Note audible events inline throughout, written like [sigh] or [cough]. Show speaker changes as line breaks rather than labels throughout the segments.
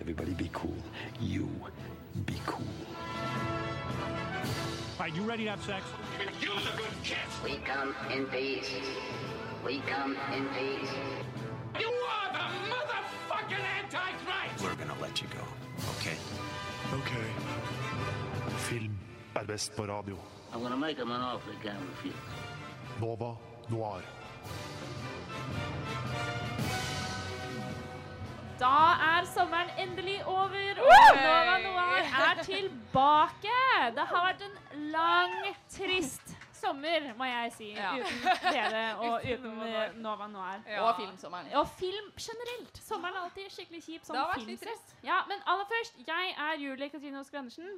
Everybody be cool. You be cool.
All right, you ready to have sex?
Use a good kiss.
We come in peace. We come in peace.
You are the motherfucking Antichrist.
We're gonna let you go. Okay?
Ok. Film er best på radio.
I'm gonna make him an offer he can't refuse.
Nova Noir.
Da er sommeren endelig over, og Nova Noir er tilbake! Det har vært en lang, trist sommer, må jeg si,
Ja.
uten dere og
[laughs] Uten
uten
Nova
eh,
Noir.
Nova Noir.
Og filmsommeren.
Og film generelt. Sommeren er alltid skikkelig kjip. Sånn
Det har vært litt
filmstress. Ja, men aller først, jeg er Julie Katrine Oskar Andersen.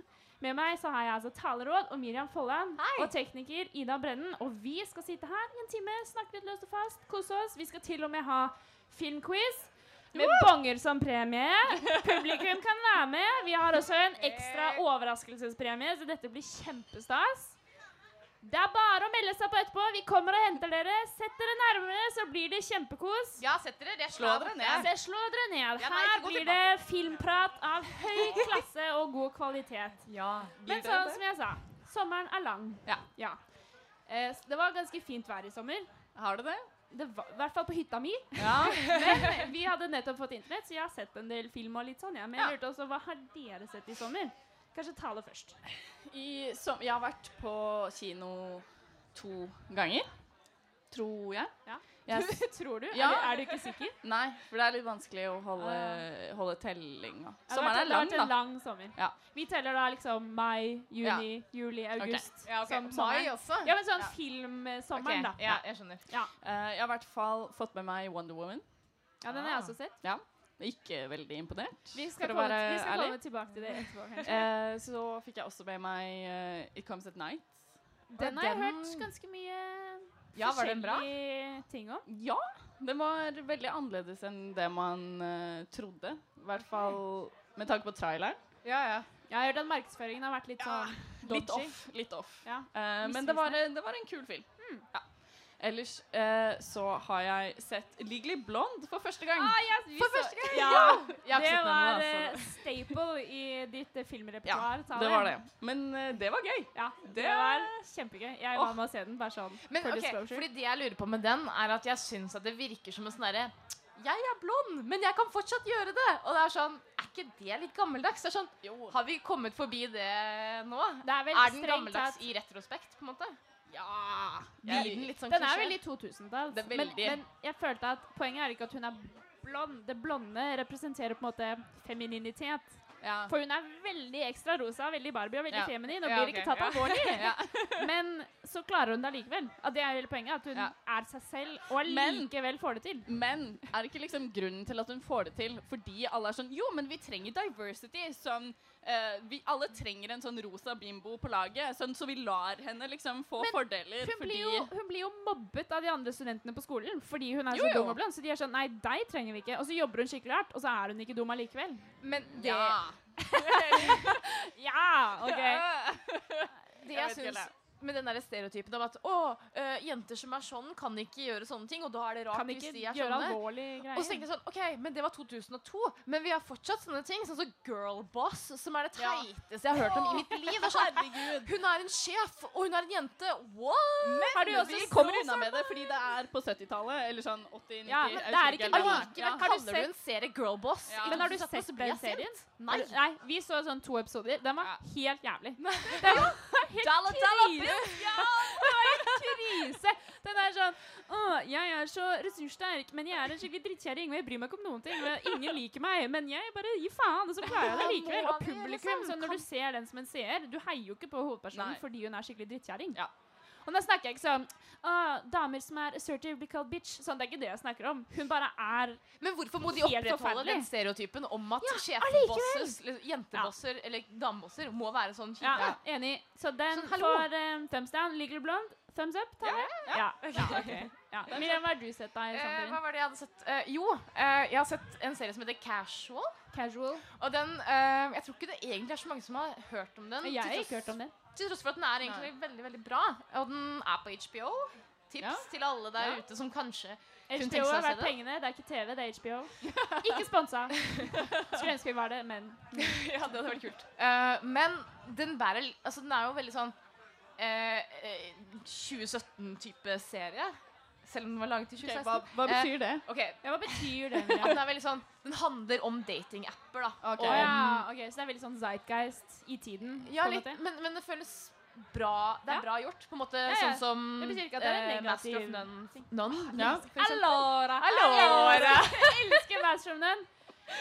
Med meg så har jeg altså taleråd og Miriam Folland.
Hei.
Og tekniker Ida Brennen. Og vi skal sitte her i en time, snakke litt løst og fast, kose oss. Vi skal til og med ha filmquiz. Med bonger som premie. Publikum kan være med. Vi har også en ekstra overraskelsespremie, så dette blir kjempestas. Det er bare å melde seg på etterpå. Vi kommer og henter dere. Sett dere nærmere, så blir det kjempekos.
Ja, sett dere det. Slå dere ned.
Se, slå dere ned.
Ja, nei,
Her
ikke gå
blir det
tilbake.
filmprat av høy klasse og god kvalitet.
Ja.
Men sånn som jeg sa, sommeren er lang.
Ja.
Eh, s- Det var ganske fint vær i sommer.
Har du det?
Det var, I hvert fall på hytta mi.
Ja.
[laughs] Men vi hadde nettopp fått internett, så jeg har sett en del film og litt sånn. Ja. Men jeg
Ja.
lurte også, hva har dere sett i sommer? Kanskje tale først.
I, som, jeg har vært på kino to ganger. Tror jeg.
Ja. [laughs]
Jeg [laughs] s-
Tror du?
Ja.
Eller er du ikke
[laughs]
sikker?
nei, for det er litt vanskelig å holde, holde telling. da. Sommeren Ah. er
det har
lang,
vært en- Det har vært en
da.
lang sommer.
Ja.
Vi teller da liksom mai, juni, juli, august.
Ja, ok.
Som
Mai
sommeren.
også?
Ja, men sånn
Ja.
filmsommeren, da.
Ja, jeg skjønner.
Ja.
Eh, jeg har i hvert fall fått med meg Wonder Woman.
Ja, den har jeg også sett.
Ja. Ikke veldig imponert.
Vi skal,
for å
komme,
være
vi skal
ærlig.
komme tilbake til det etterpå,
[laughs]
kanskje.
Eh, så fikk jeg også med meg eh, It Comes At Night.
Den har jeg
den-
hørt ganske mye
Ja, var den bra?
forskjellige ting om.
Ja, den var veldig annerledes enn det man eh, trodde. I hvert fall med tanke på traileren.
Jeg har hørt at markedsføringen har vært litt sånn dodgy.
Litt off. Litt off.
Ja.
Eh, men det var, det var en kul film. Ja. Ellers eh, så har jeg sett Legally Blonde for første gang.
Ah, yes, vi
For
så-
første gang!
[laughs] Ja,
Jeg har ikke
det
sett den
var
ennå,
eh,
altså.
staple i ditt eh,
Ja,
filmrepertoar. sa
det
du.
var det. Men eh, det var gøy.
Ja, det
Det-
var kjempegøy. Jeg var
Åh.
med å se den, bare sånn
Men
for
ok,
disclosure.
fordi det jeg lurer på med den, er at jeg syns at det virker som en sånn derre Jeg er blond, men jeg kan fortsatt gjøre det. Og det er sånn Er ikke det litt gammeldags? Det er sånn,
Jo.
Har vi kommet forbi det nå?
Det er vel
Er den
strengt
gammeldags
tatt-
i retrospekt, på en måte?
Ja.
Blir den litt sånn
Den er
klisjé?
veldig 2000-tall.
Det er
Men,
veldig.
men jeg følte at poenget er ikke at hun er blond. Det blonde representerer på en måte femininitet.
ja.
For hun er veldig ekstra rosa, veldig Barbie og veldig
Ja.
feminin. Og
Ja,
blir
ok.
ikke tatt
Ja.
alvorlig.
[laughs] Ja.
Men så klarer hun det allikevel. At det er hele poenget. At hun
Ja.
er seg selv og
Men-
allikevel får det til.
Men er det ikke liksom grunnen til at hun får det til fordi alle er sånn Jo, men vi trenger diversity. Sånn, eh, vi alle trenger en sånn rosa bimbo på laget, sånn, så vi lar henne liksom få
Men
fordeler
Hun
fordi
blir, jo, hun blir jo mobbet av de andre studentene på skolen fordi hun er
Jo,
så
jo.
dum og blond. Så de er sånn Nei, deg trenger vi ikke. Og så jobber hun skikkelig hardt, og så er hun ikke dum allikevel.
Men det,
Ja.
Ja, [laughs] ok.
det jeg
vet ikke,
syns med den der stereotypen om at å, øh, jenter som er sånn, kan ikke gjøre sånne ting, og da er det rart
Kan
hvis
ikke
de er
gjøre
sånne.
alvorlige greier.
Og så tenkte jeg sånn, ok, men det var 2002, men vi har fortsatt sånne ting, sånn som girlboss, som er det
Ja.
teiteste jeg har hørt om i mitt liv. Det er sånn, hun er en sjef, og hun er en jente. What?
Men
Har du også
vi
så
kommer unna med det fordi det er på 70-tallet, eller sånn 80-90
Ja, men
jeg
det
husker
er ikke
helt hva
lov.
det var.
Likevel
Har du
kaller du en serie girlboss.
Ja.
Men har du sett den serien?
Nei.
Eller- Nei, Vi så sånn to episoder. Den var helt jævlig. Den var helt
Dalla, dalla,
krise. Ja, det var helt krise. Den er sånn Å, jeg er så ressurssterk, men jeg er en skikkelig drittkjerring, og jeg bryr meg ikke om noen ting, og ingen liker meg, men jeg bare gir faen, og så klarer jeg det Liksom, likevel. Og publikum, så når du ser den som en seer, du heier jo ikke på hovedpersonen
Nei.
fordi hun er skikkelig drittkjerring.
Ja.
Og da snakker jeg ikke sånn Å, damer som er assertive, blir kalt bitch. Sånn, det er ikke det jeg snakker om. Hun bare er
Men hvorfor må de
Helt
opprettholde
forferdelig.
den stereotypen om at
allikevel.
sjefbosses, eller jentebosser eller damebosser må være sånn kjipe?
Ja, enig. Så den
Sånn, hallo.
får um, thumbs down. Ligger du blond? Thumbs up, tar jeg? Ja. ja. ok. ja. Miriam, hva har du sett da i
Eh, hva
sommer?
var det jeg hadde sett? Eh, jo, eh, jeg har sett en serie som heter Casual.
Casual?
Og den, eh, Jeg tror ikke det egentlig er så mange som har hørt om den.
Jeg har
til
ikke
tross-
hørt om det.
Til tross for at den er egentlig veldig veldig bra. Og den er på HBO. tips
Ja.
til alle der
Ja.
ute som kanskje Kunne tenke
HBO
seg å
er
se
verdt
det.
pengene. Det er ikke TV, det er HBO. Ikke sponsa. Skulle ønske vi var det, men
Ja, det hadde vært kult. Eh, men den bærer li- Altså, den er jo veldig sånn eh, eh, 2017-type serie. Selv om den var laget i 2016.
hva, hva
Eh,
betyr det?
ok,
ja, Hva betyr det?
[laughs] ja, Den er veldig sånn Den handler om datingapper, da.
Ok.
Og,
Å ja, ok, Så det er veldig sånn zeitgeist i tiden?
ja,
på en
litt,
måte.
men, men det føles bra Det er
Ja.
bra gjort, på en måte.
Ja, ja.
Sånn som
Det betyr ikke at det er en
eh, Master of
negativ
None.
ting. Ah,
None?
Ja.
for eksempel.
Allora! [laughs]
Allora!
Jeg elsker Masteromnen.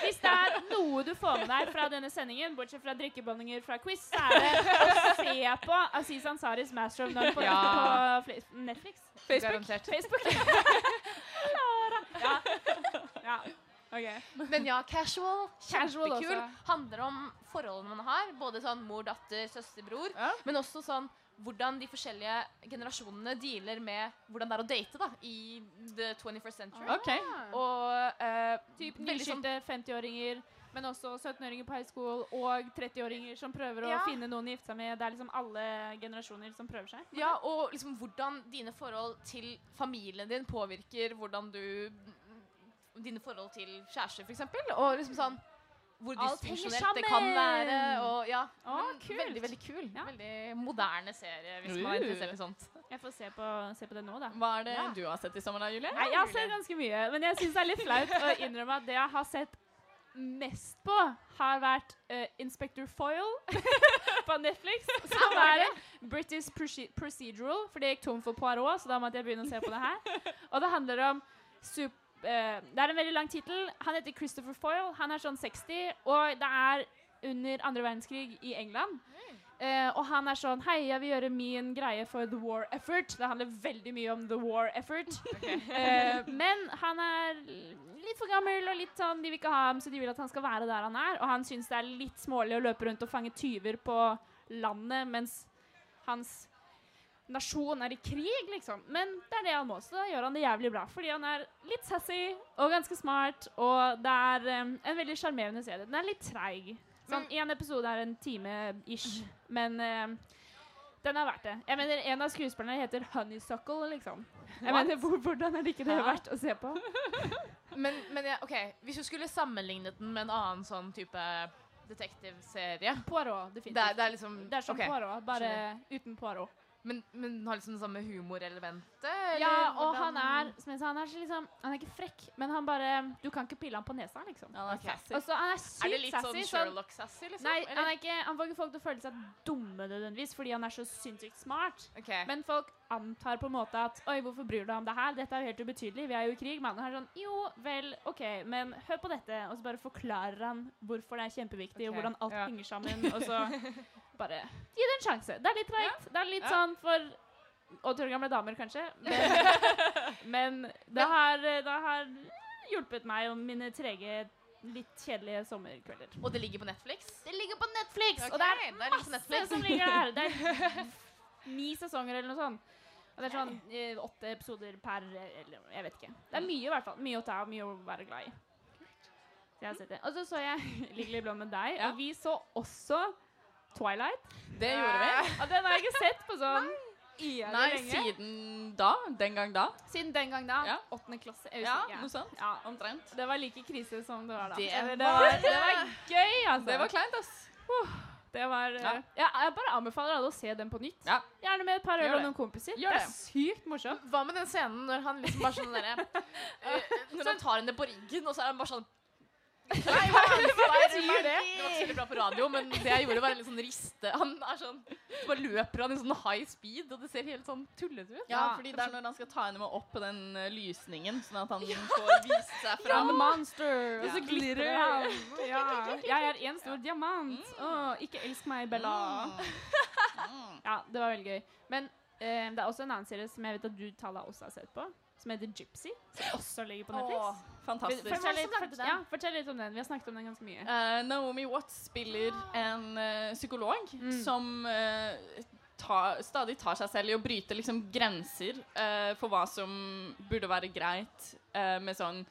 Hvis det er noe du får med deg fra denne sendingen, bortsett fra drikkebondinger fra quiz, så er det å se på Aziz Ansaris Master of None på,
Ja.
på fl- Netflix.
Garantert.
Facebook. [laughs] Allora. Ja. ja. Ok.
Men ja, casual.
Casual
Kjempekul.
også.
Handler om forholdene man har. Både sånn mor, datter, søster, bror.
Ja.
Men også sånn hvordan de forskjellige generasjonene dealer med hvordan det er å date da, i the 21st century.
Ok.
Og eh,
Typ
veldig sånn-
nyskytte 50-åringer, men også 17-åringer på high school og 30-åringer som prøver
Ja.
å finne noen å gifte seg med. Det er liksom alle generasjoner som prøver seg.
Ja, og liksom hvordan dine forhold til familien din påvirker hvordan du Dine forhold til kjæreste, f.eks. Og liksom sånn hvor
Alt henger
dysfunksjonelt det kan
sammen!
være. Og, ja,
Å,
men
kult.
Veldig veldig kul.
Ja.
Veldig moderne serie, hvis man
Uh.
er interessert i sånt.
Jeg får se på, se på det nå, da.
Hva er det
Ja.
du har sett i sommer da, Julie?
Nei, jeg har sett ganske mye, men jeg syns det er litt flaut å innrømme at det jeg har sett mest på, har vært eh, Inspector Foyle [laughs] på Netflix. Som er en British proce- procedural, for det gikk tom for Poirot, så da måtte jeg begynne å se på det her. Og det handler om sup- eh, Det er en veldig lang tittel. Han heter Christopher Foyle. Han er sånn 60, og det er under andre verdenskrig i England. Eh, og han er sånn Hei, jeg vil gjøre min greie for the war effort. Det handler veldig mye om the war effort. Eh, men han er litt for gammel, og litt sånn, de vil ikke ha ham, så de vil at han skal være der han er. Og han syns det er litt smålig å løpe rundt og fange tyver på landet mens hans nasjon er i krig, liksom. Men det er det han må, så da gjør han det jævlig bra. Fordi han er litt sassy og ganske smart, og det er eh, en veldig sjarmerende serie. Den er litt treig. Sånn, Én episode er en time-ish, men eh, den er verdt det. Jeg mener, En av skuespillerne heter Honeysuckle, liksom. Jeg mener, hvor, Hvordan er det ikke det
Hæ?
verdt å se på?
Men, men ja, ok, hvis du skulle sammenlignet den med en annen sånn type detektivserie
Poirot, definitivt.
det er, det er liksom
Det er sånn som
ok,
Poirot, bare uten Poirot.
Men, men den har liksom det samme humorelementet? eller
Ja, og
hvordan-
han er som jeg sa, han er, så liksom, han er ikke frekk, men han bare Du kan ikke pille ham på nesa, liksom.
Ja, det er
Ok.
sassy.
Og så han er
Er det
sykt
litt sånn
sassy. sånn-
Sherlock-sassy, liksom?
Nei,
eller?
han, er ikke, han får ikke folk til å føle seg dumme nødvendigvis, fordi han er så sinnssykt smart.
Ok.
Men folk antar på en måte at Oi, hvorfor bryr du deg om det her? Dette er jo helt ubetydelig, vi er jo i krig. Men han er sånn Jo, vel, OK, men hør på dette. Og så bare forklarer han hvorfor det er kjempeviktig, og
Ok,
hvordan alt
ja.
henger sammen. Og
[laughs]
så bare Gi det en sjanse. Det er litt treigt. Det er litt
ja.
sånn for 80 år gamle damer, kanskje.
[laughs]
Men, men det, har, det har hjulpet meg om mine trege, litt kjedelige sommerkvelder.
Og det ligger på Netflix?
Det ligger på Netflix,
Ok,
og det
det
er
ligger på
masse
Netflix.
som ligger der. Det
[laughs]
er ni sesonger eller noe sånt. Og det er sånn eh, åtte episoder per eh, eller Jeg vet ikke. Det er mye i hvert fall. Mye å ta av, mye å være glad i. Så jeg har sett det. Og så så jeg [laughs] Ligger i blå med deg,
Ja.
og vi så også Twilight.
Det gjorde vi.
Og den har jeg
[laughs]
ikke sett på sånn
Nei,
jævlig lenge.
siden da. Den gang da.
Siden den gang, da.
Ja.
Åttende klasse. Jeg
Ja,
husker
noe
ikke.
sånt.
Ja.
Omtrent.
Det var like krise som det var da.
Det
Eller,
var-
det var gøy, altså.
Det var kleint, ass.
Det var, eh,
Ja.
ja, jeg bare anbefaler alle å se den på nytt.
Ja.
Gjerne med et par øl
Gjør
og
det.
noen kompiser.
Gjør
det
det.
er sykt morsomt.
Hva med den scenen når han liksom bare sånn derre eh,
Sånn.
Når han tar henne på ryggen, og så er han bare sånn Nei, [laughs] hva betyr det? Det var ikke så veldig bra på radio, men det jeg gjorde, var en litt sånn riste. Han er sånn Så bare løper han i sånn high speed, og det ser helt sånn tullete ut.
Ja,
Ja.
fordi det er når han skal ta henne med opp på den eh, lysningen, sånn at han får vise seg
I'm
fram.
a monster, og
Ja.
så glitrer han. Ja. Jeg er en stor diamant. Åh, ikke elsk meg, Bella. Ja, det var veldig gøy. Men eh, det er også en annen serie som jeg vet at du Tala også har sett på, som heter Gypsy. Som også ligger på Netflix.
Åh, fantastisk.
Hvem var
Fortell
det som
litt,
lagde
fort-
den?
ja, fortell litt om den. Vi har snakket om den ganske mye.
Eh, Naomi Watts spiller en eh, psykolog
Mm.
som eh, ta, stadig tar seg selv i å bryte liksom, grenser eh, for hva som burde være greit eh, med sånn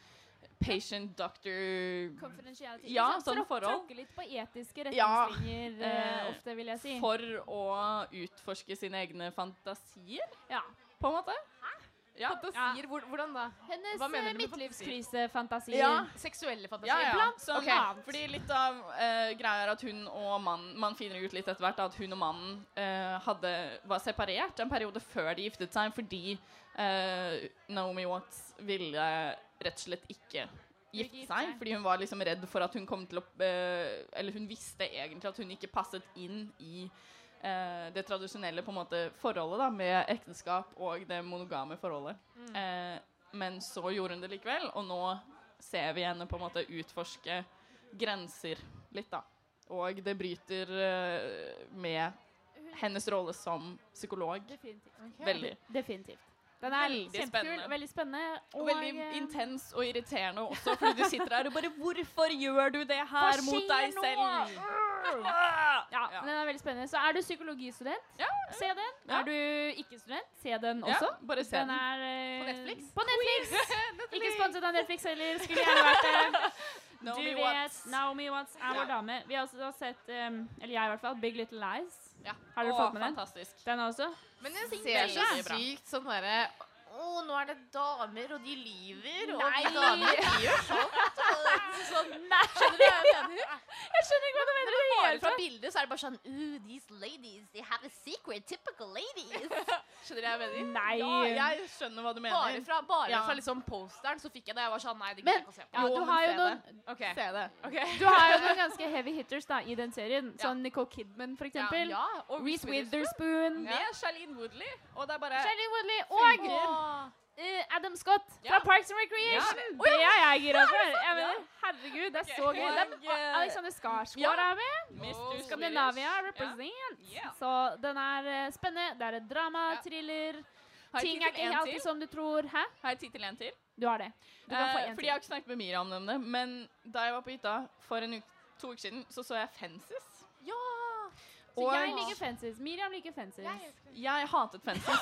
patient doctor
[laughs] Konfidensialitet.
Ja,
Ikke sant?
sånne
Tråk-
forhold.
Tråkke litt på etiske
Ja.
retningslinjer eh,
Eh,
ofte, vil jeg si.
for å utforske sine egne fantasier,
Ja.
på en måte. Ja.
Fantasier? Hvor, hvordan da?
Hennes
Hva mener
eh,
du med
midtlivskrisefantasier.
Ja. Seksuelle
Ja,
fantasier.
ja.
Blant
Sånn
Ok.
annet. Fordi litt av eh, greia er at hun og mannen Man finner ut litt etter hvert at hun og mannen eh, hadde, var separert en periode før de giftet seg, fordi eh, Naomi Watts ville rett og slett ikke gifte
gifte
seg.
seg.
Fordi hun var liksom redd for at hun kom til å eh, Eller hun visste egentlig at hun ikke passet inn i eh, det tradisjonelle på en måte forholdet da, med ekteskap og det monogame forholdet. Eh, men så gjorde hun det likevel, og nå ser vi henne på en måte utforske grenser litt, da. Og det bryter eh, med hennes rolle som psykolog
Definitivt.
veldig.
Definitivt. Den er
Veldig
kjempekul,
spennende.
veldig spennende.
Og
Og
veldig
eh,
intens og irriterende også, fordi du sitter her og bare Hvorfor gjør du det her
Hva
mot deg
skjer nå?
[laughs] selv?
ja,
Ja.
men den er veldig spennende. Så er du psykologistudent,
Ja,
se den.
Ja.
Er du ikke-student, se den også.
Ja, bare se
den
den.
er eh,
På Netflix?
På Netflix. ikke sponset av Netflix heller. Skulle gjerne vært det. Du
Naomi
vet,
Watts.
Naomi Watts er vår
Ja.
dame. Vi har også sett, em, eller jeg i hvert fall, Big Little Lies.
Ja.
Har dere
Å,
fått med den?
fantastisk.
Den også.
[laughs] Men den
veldig
ser så
bra.
sykt sånn derre Å, nå er det damer, og de lyver, og
Nei.
de damer de gjør
[laughs]
sånt. og Sånn, skjønner du hva jeg mener?
Jeg skjønner ikke hva du mener. i det
Bare
hele
fra
tatt.
bildet så er det bare sånn Ooh, these ladies, they have a secret, typical
[laughs]
ladies. Skjønner du hva jeg mener?
Nei.
Ja, jeg skjønner hva du mener.
Bare fra, bare
Ja.
fra liksom posteren så fikk jeg det. Jeg var sånn Nei, det
Men-
gidder jeg ikke å se på.
Ja,
Jo,
du
men
har jo
se
noen
Ok.
Se det.
Du har jo noen ganske heavy hitters da, i den serien.
Ja.
Sånn Nicole Kidman, for
Ja,
eksempel.
ja,
Og
Reese Witherspoon.
Med Charlene Woodley. Og det er bare
Shelley Woodley. Og
Åh.
eh, Adam Scott
Ja.
fra Parks and Recreation.
Ja.
Det er jeg gira for. Jeg mener, herregud, det er så gøy. Det
Og,
er
eh,
Alexander Skarsgård
ja.
er med.
Mr.
Skandinavia
Swedish.
represent.
Ja.
Så den er eh, spennende. Det er et drama,
Ja.
thriller.
Har jeg
Ting er
tittel
ikke
en
alltid
til?
som du tror. Hæ?
Har jeg tittel en til?
Du har det. Du kan få
Eh,
en
fordi jeg
til.
har ikke snakket med Miriam om det, men da jeg var på hytta for en uke, to uker siden, så så jeg Fences.
Ja.
Så
og-
jeg liker Fences. Miriam liker Fences.
Jeg hatet Fences.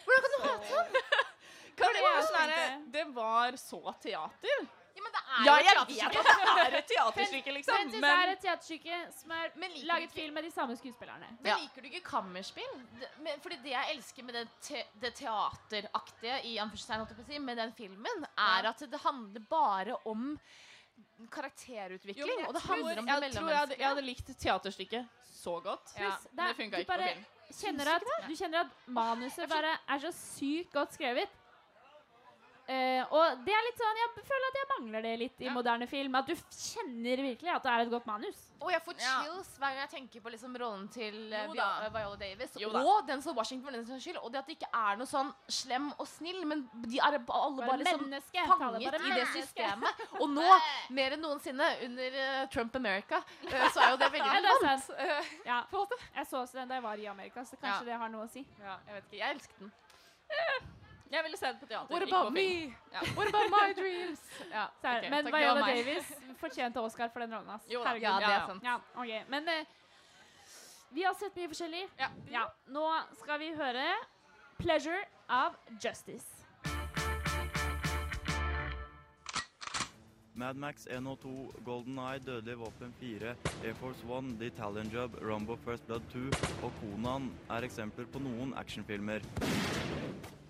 Hvordan kan du hate sånn?
Kan det,
det
være
jeg
sånn
tenkte.
her, det var så teater.
Ja, men det er
Ja,
jo
jeg
gratis.
vet at det er et teaterstykke, liksom,
Fences er
men
et teaterstykke som er
Men liker
laget
du ikke-
film med de samme skuespillerne.
Men liker du ikke kammerspill? Det- Men, fordi det jeg elsker med det, te det teateraktige i anførselstegn, holdt jeg på å si, med den filmen, er at det handler bare om
Jo, men
karakterutvikling.
jeg
og det
tror-
handler om det
jeg tror jeg hadde, jeg
mellommenneskelige.
hadde likt teaterstykket så godt.
Ja.
Men det funka
du
ikke på
bare
film.
Kjenner at, du kjenner at manuset bare er så sykt godt skrevet. Eh, og det er litt sånn, jeg føler at jeg mangler det litt i
Ja.
moderne film. At du f- kjenner virkelig at det er et godt manus.
Og jeg får
Ja.
chills hver gang jeg tenker på liksom rollen til eh,
Jo da.
Vi- eh, Viola Davis
Jo da.
og den som Washington for den saks skyld. Og det at det ikke er noe sånn slem og snill, men de er ba- alle
Bare
bare liksom
menneske.
fanget
Bare
i det
menneske. [laughs]
systemet. Og nå, mer enn noensinne, under eh, Trump America, eh, så er jo det
[laughs]
veldig
Ja, det er
relevant.
sant.
Eh,
Ja. Jeg så også den da jeg var i Amerika, så kanskje det har noe å si.
ja, jeg vet ikke, jeg elsket den.
Jeg ville se det på teater.
What
ikke på
about
film.
me?
Ja.
What about my dreams? Ja,
Så er det.
ok,
Eh, Men
takk, det var
Viola
meg.
Davis fortjente Oscar for den rollen. ass.
Jo da.
Herregud.
Ja, det
Ja, ja.
er sant.
Ja, ok. Men eh, vi har sett mye forskjellig.
Mm.
Ja.
Ja, nå skal vi høre 'Pleasure of Justice'.
Madmax 102, Golden Eye, Dødelig våpen 4, Air Force One, The Italian Job, Rambo First Blood 2 og Conan er eksempler på noen actionfilmer.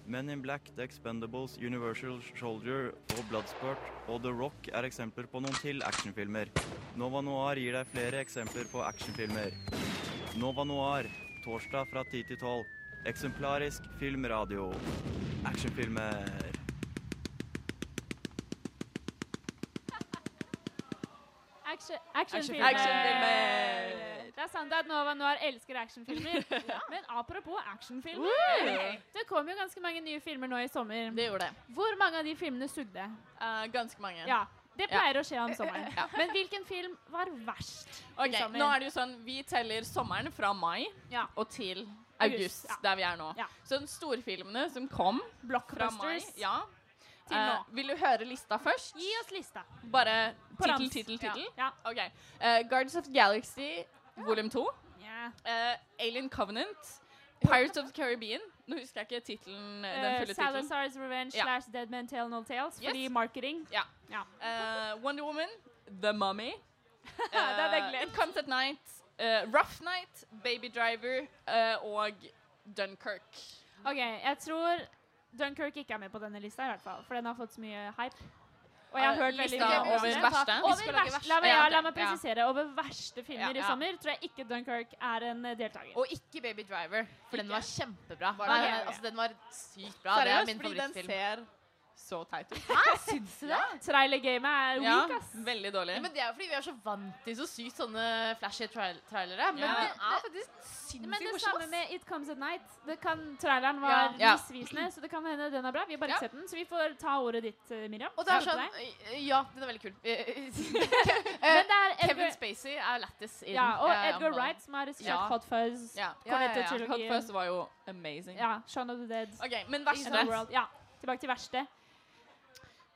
Men in Black, The Expendables, Universal Soldier og Bloodsport og The Rock er eksempler på noen til actionfilmer. Nova Noir gir deg flere eksempler på actionfilmer. Nova Noir, torsdag fra 10 til 12. Eksemplarisk filmradio. Actionfilmer.
Action- Actionfilmer.
Actionfilmer.
Det er sant at Nova Noir elsker
[laughs]
actionfilmer. Men apropos actionfilmer Det kom jo ganske mange nye filmer nå i sommer.
Det gjorde det.
Hvor mange av de filmene sugde?
Eh, ganske mange.
Ja, Det pleier å skje om sommeren.
Ja.
Men hvilken film var verst?
Ok,
i sommer?
nå er det jo sånn, Vi teller sommeren fra mai
Ja.
og til august,
August, ja.
der vi er nå.
Ja.
Så de storfilmene som kom fra mai
Blockbusters
ja,
til
eh,
nå.
Vil du høre lista først?
Gi oss lista.
Bare
På
tittel,
rams.
tittel,
Ja.
tittel?
Ja.
Ok. Eh, Guardians of the Galaxy volum 2.
Ja.
eh, Alien Covenant. Pirates of the Caribbean. Nå husker jeg ikke tittelen, eh, den
Eh,
fulle tittelen.
Salazar's Revenge
Ja.
slash Dead Men Tell No Tales fordi
Yes.
marketing.
Ja.
Ja.
Eh, Wonder Woman. The Mummy.
[laughs] det hadde jeg
Eh,
glemt.
It Comes at Night. eh, Rough Night. Baby Driver. eh, og Dunkerque.
OK, jeg tror Dunkirk ikke er med på denne lista, i hvert fall, for den har fått så mye hype. Og jeg har hørt veldig
Lista
mye om
over
den.
verste?
Vi
Over
skal lage
verste,
verste.
la, meg, ja,
Ja.
la meg
Ja.
presisere. Over verste filmer
Ja, ja.
i sommer tror jeg ikke Dunkirk er en eh, deltaker.
Og ikke Baby Driver, for den var kjempebra.
Var
Nei,
det?
den- altså, den var sykt bra. det er
Seriøst,
min
fordi den
favorittfilm.
ser så teit ut.
Trailer-gamet er
Ja,
weak, ass.
veldig dårlig.
Men det er jo fordi vi er så vant til så sykt sånne flashy trail trailere. Men
Ja.
den er faktisk
Men
sinnssykt
det
morsom.
samme
ass.
med It Comes At Night. Det kan, traileren var
Ja.
Ja.
misvisende, så det kan hende den er bra. Vi har bare ikke
Ja.
sett den, så vi får ta ordet ditt, eh, Miriam.
Og det er
Starte
sånn
deg.
eh, Ja, den er veldig
[laughs]
kul. Eh,
Men det er
Kevin
Edgar,
Spacey er lættis i den.
ja, og
Eh,
Edgar
om-
Wright, som har regissert
Ja.
Hot Fuzz.
ja. Hot
Cornetto-trilogien.
Fuzz var jo amazing.
Ja, Shaun of the Dead.
Ok, Men
Into the
verste
World. Ja, tilbake til verste.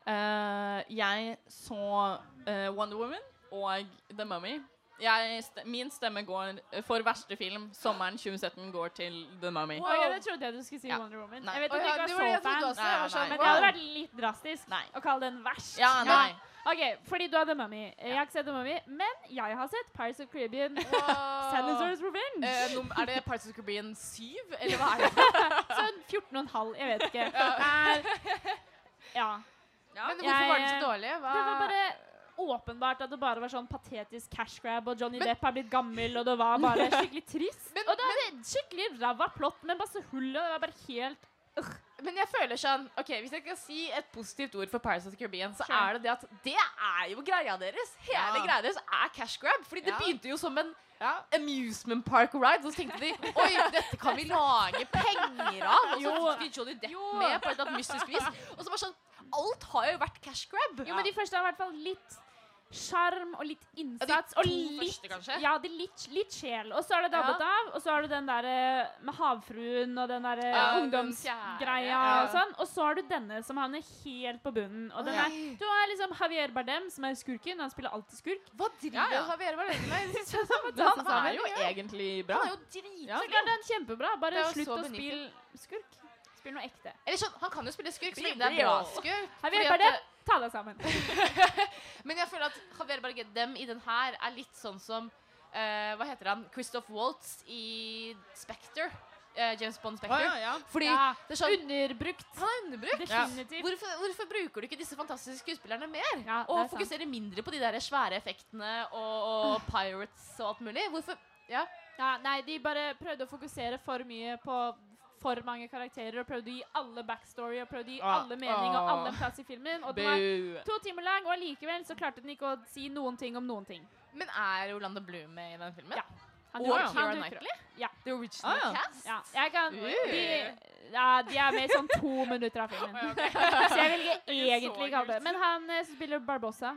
Eh, jeg så eh, Wonder Woman og The Mummy. Jeg, st min stemme går for verste film. Sommeren 2017 går til The Mummy.
Wow. det trodde jeg du skulle si
Ja.
Wonder Woman.
Nei.
Jeg vet
Å
at du
ja,
ikke
det
er så
var det jeg
fan,
trodde også. Jeg var
Nei,
men
sånn,
nei.
det hadde
wow.
vært litt drastisk
Nei.
å kalle den verst.
Ja, nei.
OK, fordi du hadde Mummy. Jeg har ikke sett The Mummy, men jeg har sett Pirates of Caribbean
[laughs]
og Salazar's Revenge.
Eh, nom- er det Parts of the Caribbean 7, eller hva er det?
Sånn 14 og en halv, jeg vet ikke. Det er- [laughs] ja.
Men
Jeg-
hvorfor var den så dårlig? Hva?
Det var bare åpenbart at det bare var sånn patetisk cash grab, og Johnny Depp er blitt gammel, og det var bare skikkelig trist.
Men-
og det er skikkelig ræva plott med masse hull, og det var bare helt
Men jeg føler sånn Ok, Hvis jeg kan si et positivt ord for Pirates of the Caribbean, så
Sure.
er det det at det er jo greia deres. Hele
Ja.
greia deres er cash grab. Fordi det
Ja.
begynte jo som en
Ja.
amusement park ride. Og så tenkte
[laughs]
de oi, dette kan vi lage penger av. Og så fikk de Johnny Depp med på et eller annet mystisk vis. Og så bare sånn Alt har jo vært cash grab.
Jo, men de første har i hvert fall litt sjarm og litt innsats.
to
og litt,
første, kanskje?
ja, det er litt, litt sjel. Og så er det dabbet av, og så har du den der eh, med havfruen og den derre
Ja, den fjerde,
ungdomsgreia
ja.
og sånn. Og så har du denne som havner helt på bunnen. Og den
Ja.
er, du har liksom Javier Bardem, som er skurken. Han spiller alltid skurk.
Hva driver
Ja, ja.
Javier
[laughs]
Bardem med?
Men han er jo egentlig bra.
Han er jo dritflink.
Ja.
Så klart det er kjempebra.
Det
Bare
er jo
slutt
så
å
benyttet.
spille skurk. Spill noe ekte.
Eller sånn, Han kan jo spille skurk, så
Blir
lenge det er bra
real.
skurk.
Har vi
Fordi
hjulpet
at, eh,
dem? Ta deg sammen.
[laughs] Men jeg føler at Javier Bardem i den her er litt sånn som eh, Hva heter han? Christoph Waltz i Spectre. Eh, James Bond Spectre.
Å, ja, ja.
Fordi
Ja,
det er sånn,
underbrukt.
han er underbrukt.
Definitivt.
Hvorfor, hvorfor bruker du ikke disse fantastiske skuespillerne mer?
Ja, det er
og
sant. Ah.
fokuserer mindre på de der svære effektene og, og pirates og alt mulig? Hvorfor Ja.
Ja, nei, de bare prøvde å fokusere for mye på for mange karakterer og prøvde å gi alle backstory og prøvde å gi
Ah,
alle mening og
ah.
alle en plass i filmen. Og den var
Bu.
to timer lang, og allikevel så klarte den ikke å si noen ting om noen ting.
Men er Orlando Bloom med i den filmen?
Ja. Han
Og
dukker- han
Keira
dukker opp.
Knightley?
Ja.
The original
Ah, ja.
cast?
Ja,
[laughs]
jeg kan,
Uh.
de, ja, de er med i sånn to minutter av filmen.
[laughs]
Så jeg vil ikke egentlig kalle det Men han eh, spiller Barbossa.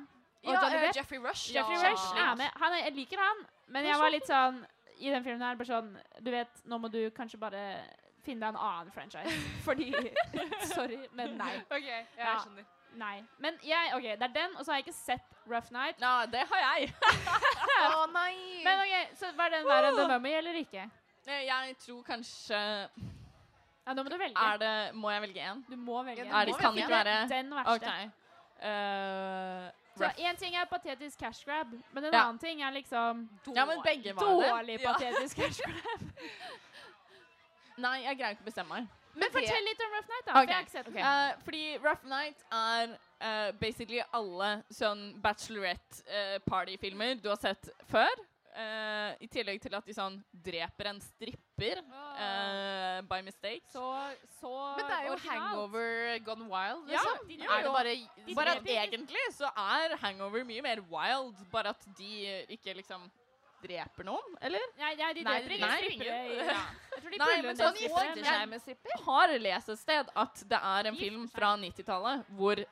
Og
Ja,
Johnny
eh,
Depp.
Jeffrey Rush.
Jeffrey
Ja.
Rush er med. Han er, jeg liker han, men jeg var litt sånn i den filmen her bare sånn Du vet, nå må du kanskje bare finne deg en annen franchise. [laughs] Fordi [laughs] Sorry, men nei.
Ok, ja,
Ja.
jeg skjønner.
Nei. Men jeg, OK, det er den, og så har jeg ikke sett Rough Night.
Ja, det har jeg.
Å nei!
Men OK, så var den verre enn The Mummy eller ikke?
Eh, Jeg tror kanskje
Ja, nå må du velge.
Er det Må jeg velge én?
Du må velge.
Er det kan ikke være
den verste.
OK. Eh,
Så
rough.
én ting er patetisk cash grab, men en
Ja.
annen ting er liksom
Ja, men begge var det.
dårlig
Ja.
patetisk
[laughs]
cash grab.
Nei, jeg greier ikke å bestemme meg.
Men fortell litt om Rough Night, da. For jeg har ikke sett den.
Eh, fordi Rough Night er eh, basically alle sånn bachelorette-partyfilmer du har sett før. Eh, I tillegg til at de sånn dreper en stripper eh, by mistake.
Så, så
Men det er jo
originalt.
hangover gone wild,
Ja,
liksom.
de
er
gjør
det
jo-
bare
bare
bare
at egentlig så er Hangover mye mer wild, bare at de ikke liksom dreper noen, eller?
Nei, nei, de
Nei,
dreper ikke
nei,
strippere.
ingen.
i- Jeg tror de
Nei,
puller
men sånn
en del
gifter
strippere,
seg
men-
med stripper. Jeg har lest et sted at det er en
Gift
film
seg.
fra 90-tallet hvor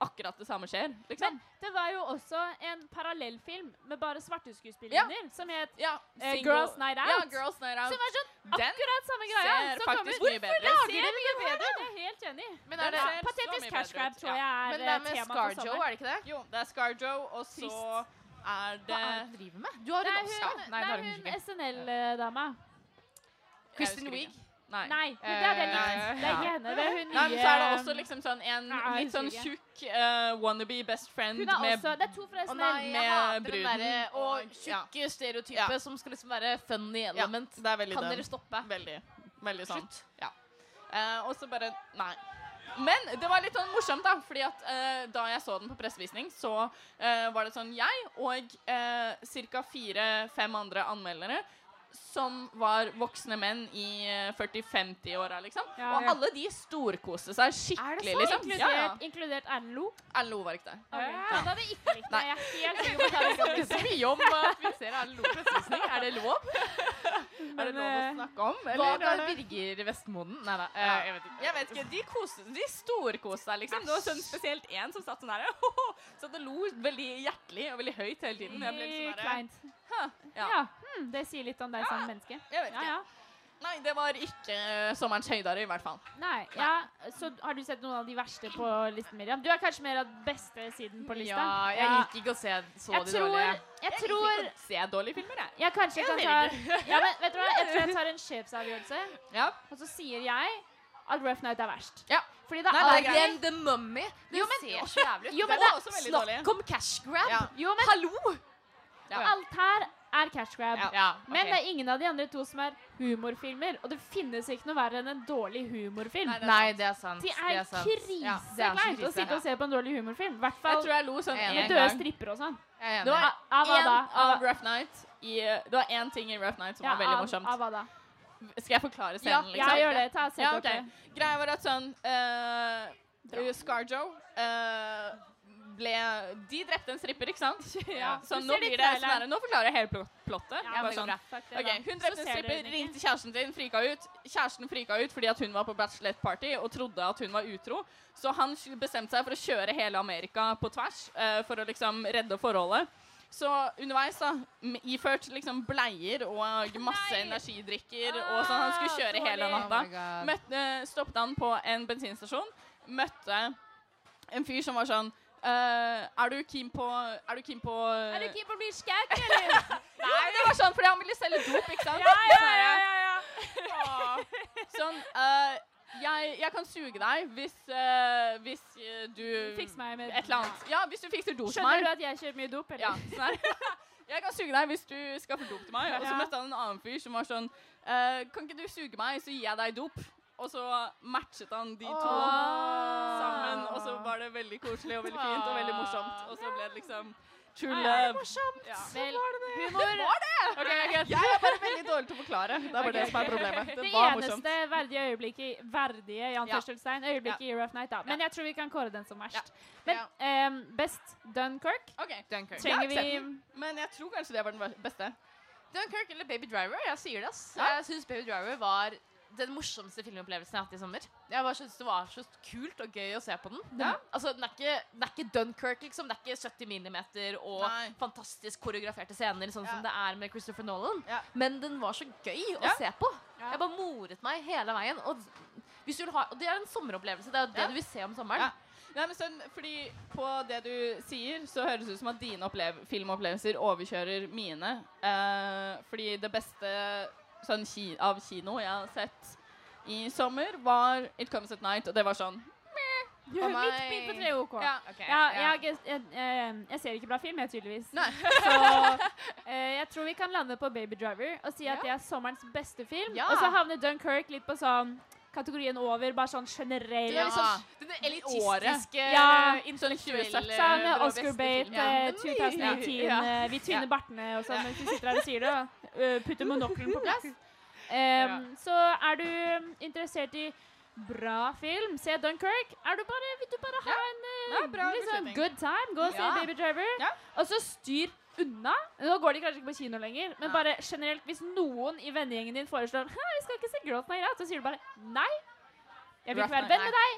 akkurat det samme skjer, liksom.
Men det var jo også en parallellfilm med bare svarte skuespillere
Ja.
som het
ja,
eh,
single-
Girls Night
Ja,
Out.
Girls Night Out.
Som er sånn
Den
akkurat samme greia.
ser
som
faktisk
kommer-
mye bedre ut.
Hvorfor
Ser
lager de mye bedre? Det er jeg helt enig. i.
Men er det,
Den ser- så
Patetisk
mye
cash
bedre
grab
ut, ja.
tror jeg er
men det er
eh,
med
tema for
Scarjo,
sommeren.
er det ikke det?
Jo, det er ScarJo, og så
Trist.
er
Hva
det
er det du driver med? Du har
Nei,
en
hun,
Oscar.
nei,
det har
hun
ikke.
SNL-dama.
Kristen
Jeg husker
Wiig.
ikke. Nei.
Nei, men det er det
Nei,
litt. Det er
ja.
ikke henne. Det er hun
Nei, men så er det også
nye-
liksom sånn en
Nei, jeg
litt sånn
husker
tjukk eh, wannabe best friend
Hun er
med
også Det er to fra
Å
SNL.
nei, jeg hater
med
den derre
bruden og-
og tjukke stereotypet
Ja.
som skal liksom være funny element.
det er veldig
Kan
den.
dere stoppe?
Veldig. Veldig sånn.
Slutt.
Ja. Eh, og så bare Nei. Men det var litt sånn morsomt, da. fordi at eh, da jeg så den på pressevisning, så eh, var det sånn jeg og eh, ca. fire-fem andre anmeldere som var voksne menn i eh, 40-50-åra, liksom.
Ja,
og
ja.
alle de storkoste seg
Er det
skikkelig,
så?
liksom.
Inkludert,
Ja, ja.
inkludert Erlend Lo?
Erlend Loe var ikke der.
Ja, da hadde jeg ikke likt det. Jeg er helt sikker på at jeg hadde
snakker så mye om at vi ser Erlend Loe pressevisning. Er det
[laughs]
lov?
Er det lov å snakke om?
Hva
Eller er
med
det
Birger Vestmoden? Nei, nei, eh,
Ja.
jeg vet ikke.
Jeg vet ikke, De, koste, de storkoste seg, liksom. Det var sånn spesielt én som satt sånn [laughs] her satt og lo veldig hjertelig og veldig høyt hele tiden. Jeg ble
likt
litt sånn her,
Kleint.
ja.
Ja. Hmm, det sier litt om deg som menneske.
jeg vet
Ja,
ikke.
ja.
Nei, det var ikke eh, sommerens høydare, i hvert fall.
Nei, ja. Så har du sett noen av de verste på listen, Miriam? Du er kanskje mer av beste siden på lista.
Ja, jeg liker ikke å se så
Jeg
de
tror,
dårlige.
jeg tror
Ikke Se dårlige filmer, jeg.
jeg kanskje kan ta ja, men, vet du hva? Jeg tror jeg tar en sjefsavgjørelse,
Ja.
og så sier jeg at Rough Night er verst.
Ja.
Fordi det er
Nei, det er
alltid
Men The Mummy, den ser så jævlig ut.
Jo,
Den
men det
var også veldig dårlig.
Snakk om cash grab!
Ja.
Jo, men
Hallo!
alt her er cash grab.
Ja.
Ja,
Men
ok.
det er ingen av de andre to som er humorfilmer, og det finnes ikke noe verre enn en dårlig humorfilm.
Nei, det er
Nei, det er sant.
Det
det
er
er sant. Ja, det er så
krisekleint å
krise.
sitte og se på en dårlig humorfilm. I hvert
Jeg
fall
tror jeg lo sånn
Jeg er
med
én
enig.
døde
gang.
strippere og sånn.
Jeg er
Det
enig.
var
Av hva
én
da?
av Rough Night i, Det var én ting i Rough Night som
Ja,
var veldig
av-
morsomt.
Av hva da?
Skal jeg forklare
Ja,
scenen, liksom?
jeg gjør det. Ta sett
Ja,
opp
ok.
det.
Greia var at sånn eh, Scarjo eh, ble De drepte en stripper, ikke sant?
[laughs] Ja.
Så
Du
nå
ser det
blir
i
det
traileren.
sånn her, Nå forklarer jeg hele pl- plottet.
Ja,
Bare
men
sånn.
bra. Fuck det,
Ok,
da.
Hun
Så
drepte en
ser dere
stripper,
den ikke.
ringte kjæresten sin, frika ut. Kjæresten frika ut fordi at hun var på bachelorette party og trodde at hun var utro. Så han sj- bestemte seg for å kjøre hele Amerika på tvers eh, for å liksom redde forholdet. Så underveis, da, m- iført liksom bleier
[laughs]
og masse energidrikker og sånn. Han
Ah,
skulle kjøre hele
Oh
natta.
my god.
Møtte, eh, stoppet han på en bensinstasjon. Møtte en fyr som var sånn eh, er du keen på Er du keen på
Er du keen på å bli skækk, eller?
Nei, det var sånn fordi han ville selge dop, ikke sant?
Ja, ja, ja, ja,
[laughs]
ja.
Sånn eh, jeg, jeg kan suge deg hvis, eh, hvis eh, du
Fiks meg med
Et eller annet. Ja, hvis du fikser dop til
Skjønner
meg.
du at jeg kjører mye dop, eller?
Ja, sånn her. [laughs] Jeg kan suge deg hvis du skaffer dop til meg. Og så
Ja.
møtte han en annen fyr som var sånn eh, Kan ikke du suge meg, så gir jeg deg dop? Og så matchet han de to sammen, og så var det veldig koselig og veldig fint og veldig morsomt. Og så ble det liksom true
Ja, ja,
love.
det er
Ja.
Vel, humor
Jeg er bare veldig dårlig til å forklare. Det er bare det
Ok,
som er
ok.
problemet.
Det
Det var morsomt.
eneste verdige øyeblikket Verdige, i anførselstegn, øyeblikket i Rough Night, da. Men jeg tror vi kan kåre den som verst. Men ehm, best Dunkerque
Ok,
Dunkirk.
Jeg har ikke
trenger vi
sett Men jeg tror kanskje det var den beste.
Dunkirk eller Baby Driver. Jeg sier det, ass.
Ja.
Jeg syns Baby Driver var den morsomste filmopplevelsen jeg har hatt i sommer. Jeg bare synes Det var så kult og gøy å se på den. den
Ja.
Altså, den er ikke, den er ikke Dunkirk, liksom. Det er ikke 70 millimeter og
Nei.
fantastisk koreograferte scener, sånn som det er med Christopher Nolan.
Ja.
Men den var så gøy å
Ja.
se på. Jeg bare moret meg hele veien. Og, hvis du vil ha, og det er en sommeropplevelse. Det er jo det
Ja.
du vil se om
Ja.
sommeren.
Nei, men sånn, fordi på det du sier, så høres det ut som at dine opplev filmopplevelser overkjører mine. Eh, fordi det beste sånn, ki av kino jeg har sett i sommer, var It Comes At Night, og det var sånn
Å, nei.
Midt midt på tre OK. Ja.
ok,
jeg, har ikke- jeg, ehm, jeg ser ikke bra film, jeg, tydeligvis.
Nei.
Så eh, jeg tror vi kan lande på Baby Driver og si at det er sommerens beste film.
Ja.
Og så havner Dunkerque litt på sånn kategorien over, bare sånn generell.
Det er
Ja.
litt sånn den elitistiske
Ja.
eh,
Sånn
intellektuelle
2017.
Sånn
det var beste
Oscar-bait
filmen.
eh,
Ja.
2019.
Ja.
eh, Vi tvinner bartene og sånn mens vi sitter her og sier det. og, eh, Putter monokkelen på
[laughs]
plass. Em, Så er du um, interessert i bra film, se Dunkerque. Er du bare, vil du bare ha en eh,
Ja, bra
litt sånn
beslutning.
good time? Gå og se
Ja.
Baby Driver.
Ja.
Og så styr unna. Nå går de kanskje ikke på kino lenger, men bare generelt hvis noen i vennegjengen din foreslår Hæ, vi skal ikke se Growth Night Out, så sier du bare nei. Jeg vil
Rough
ikke være venn med deg.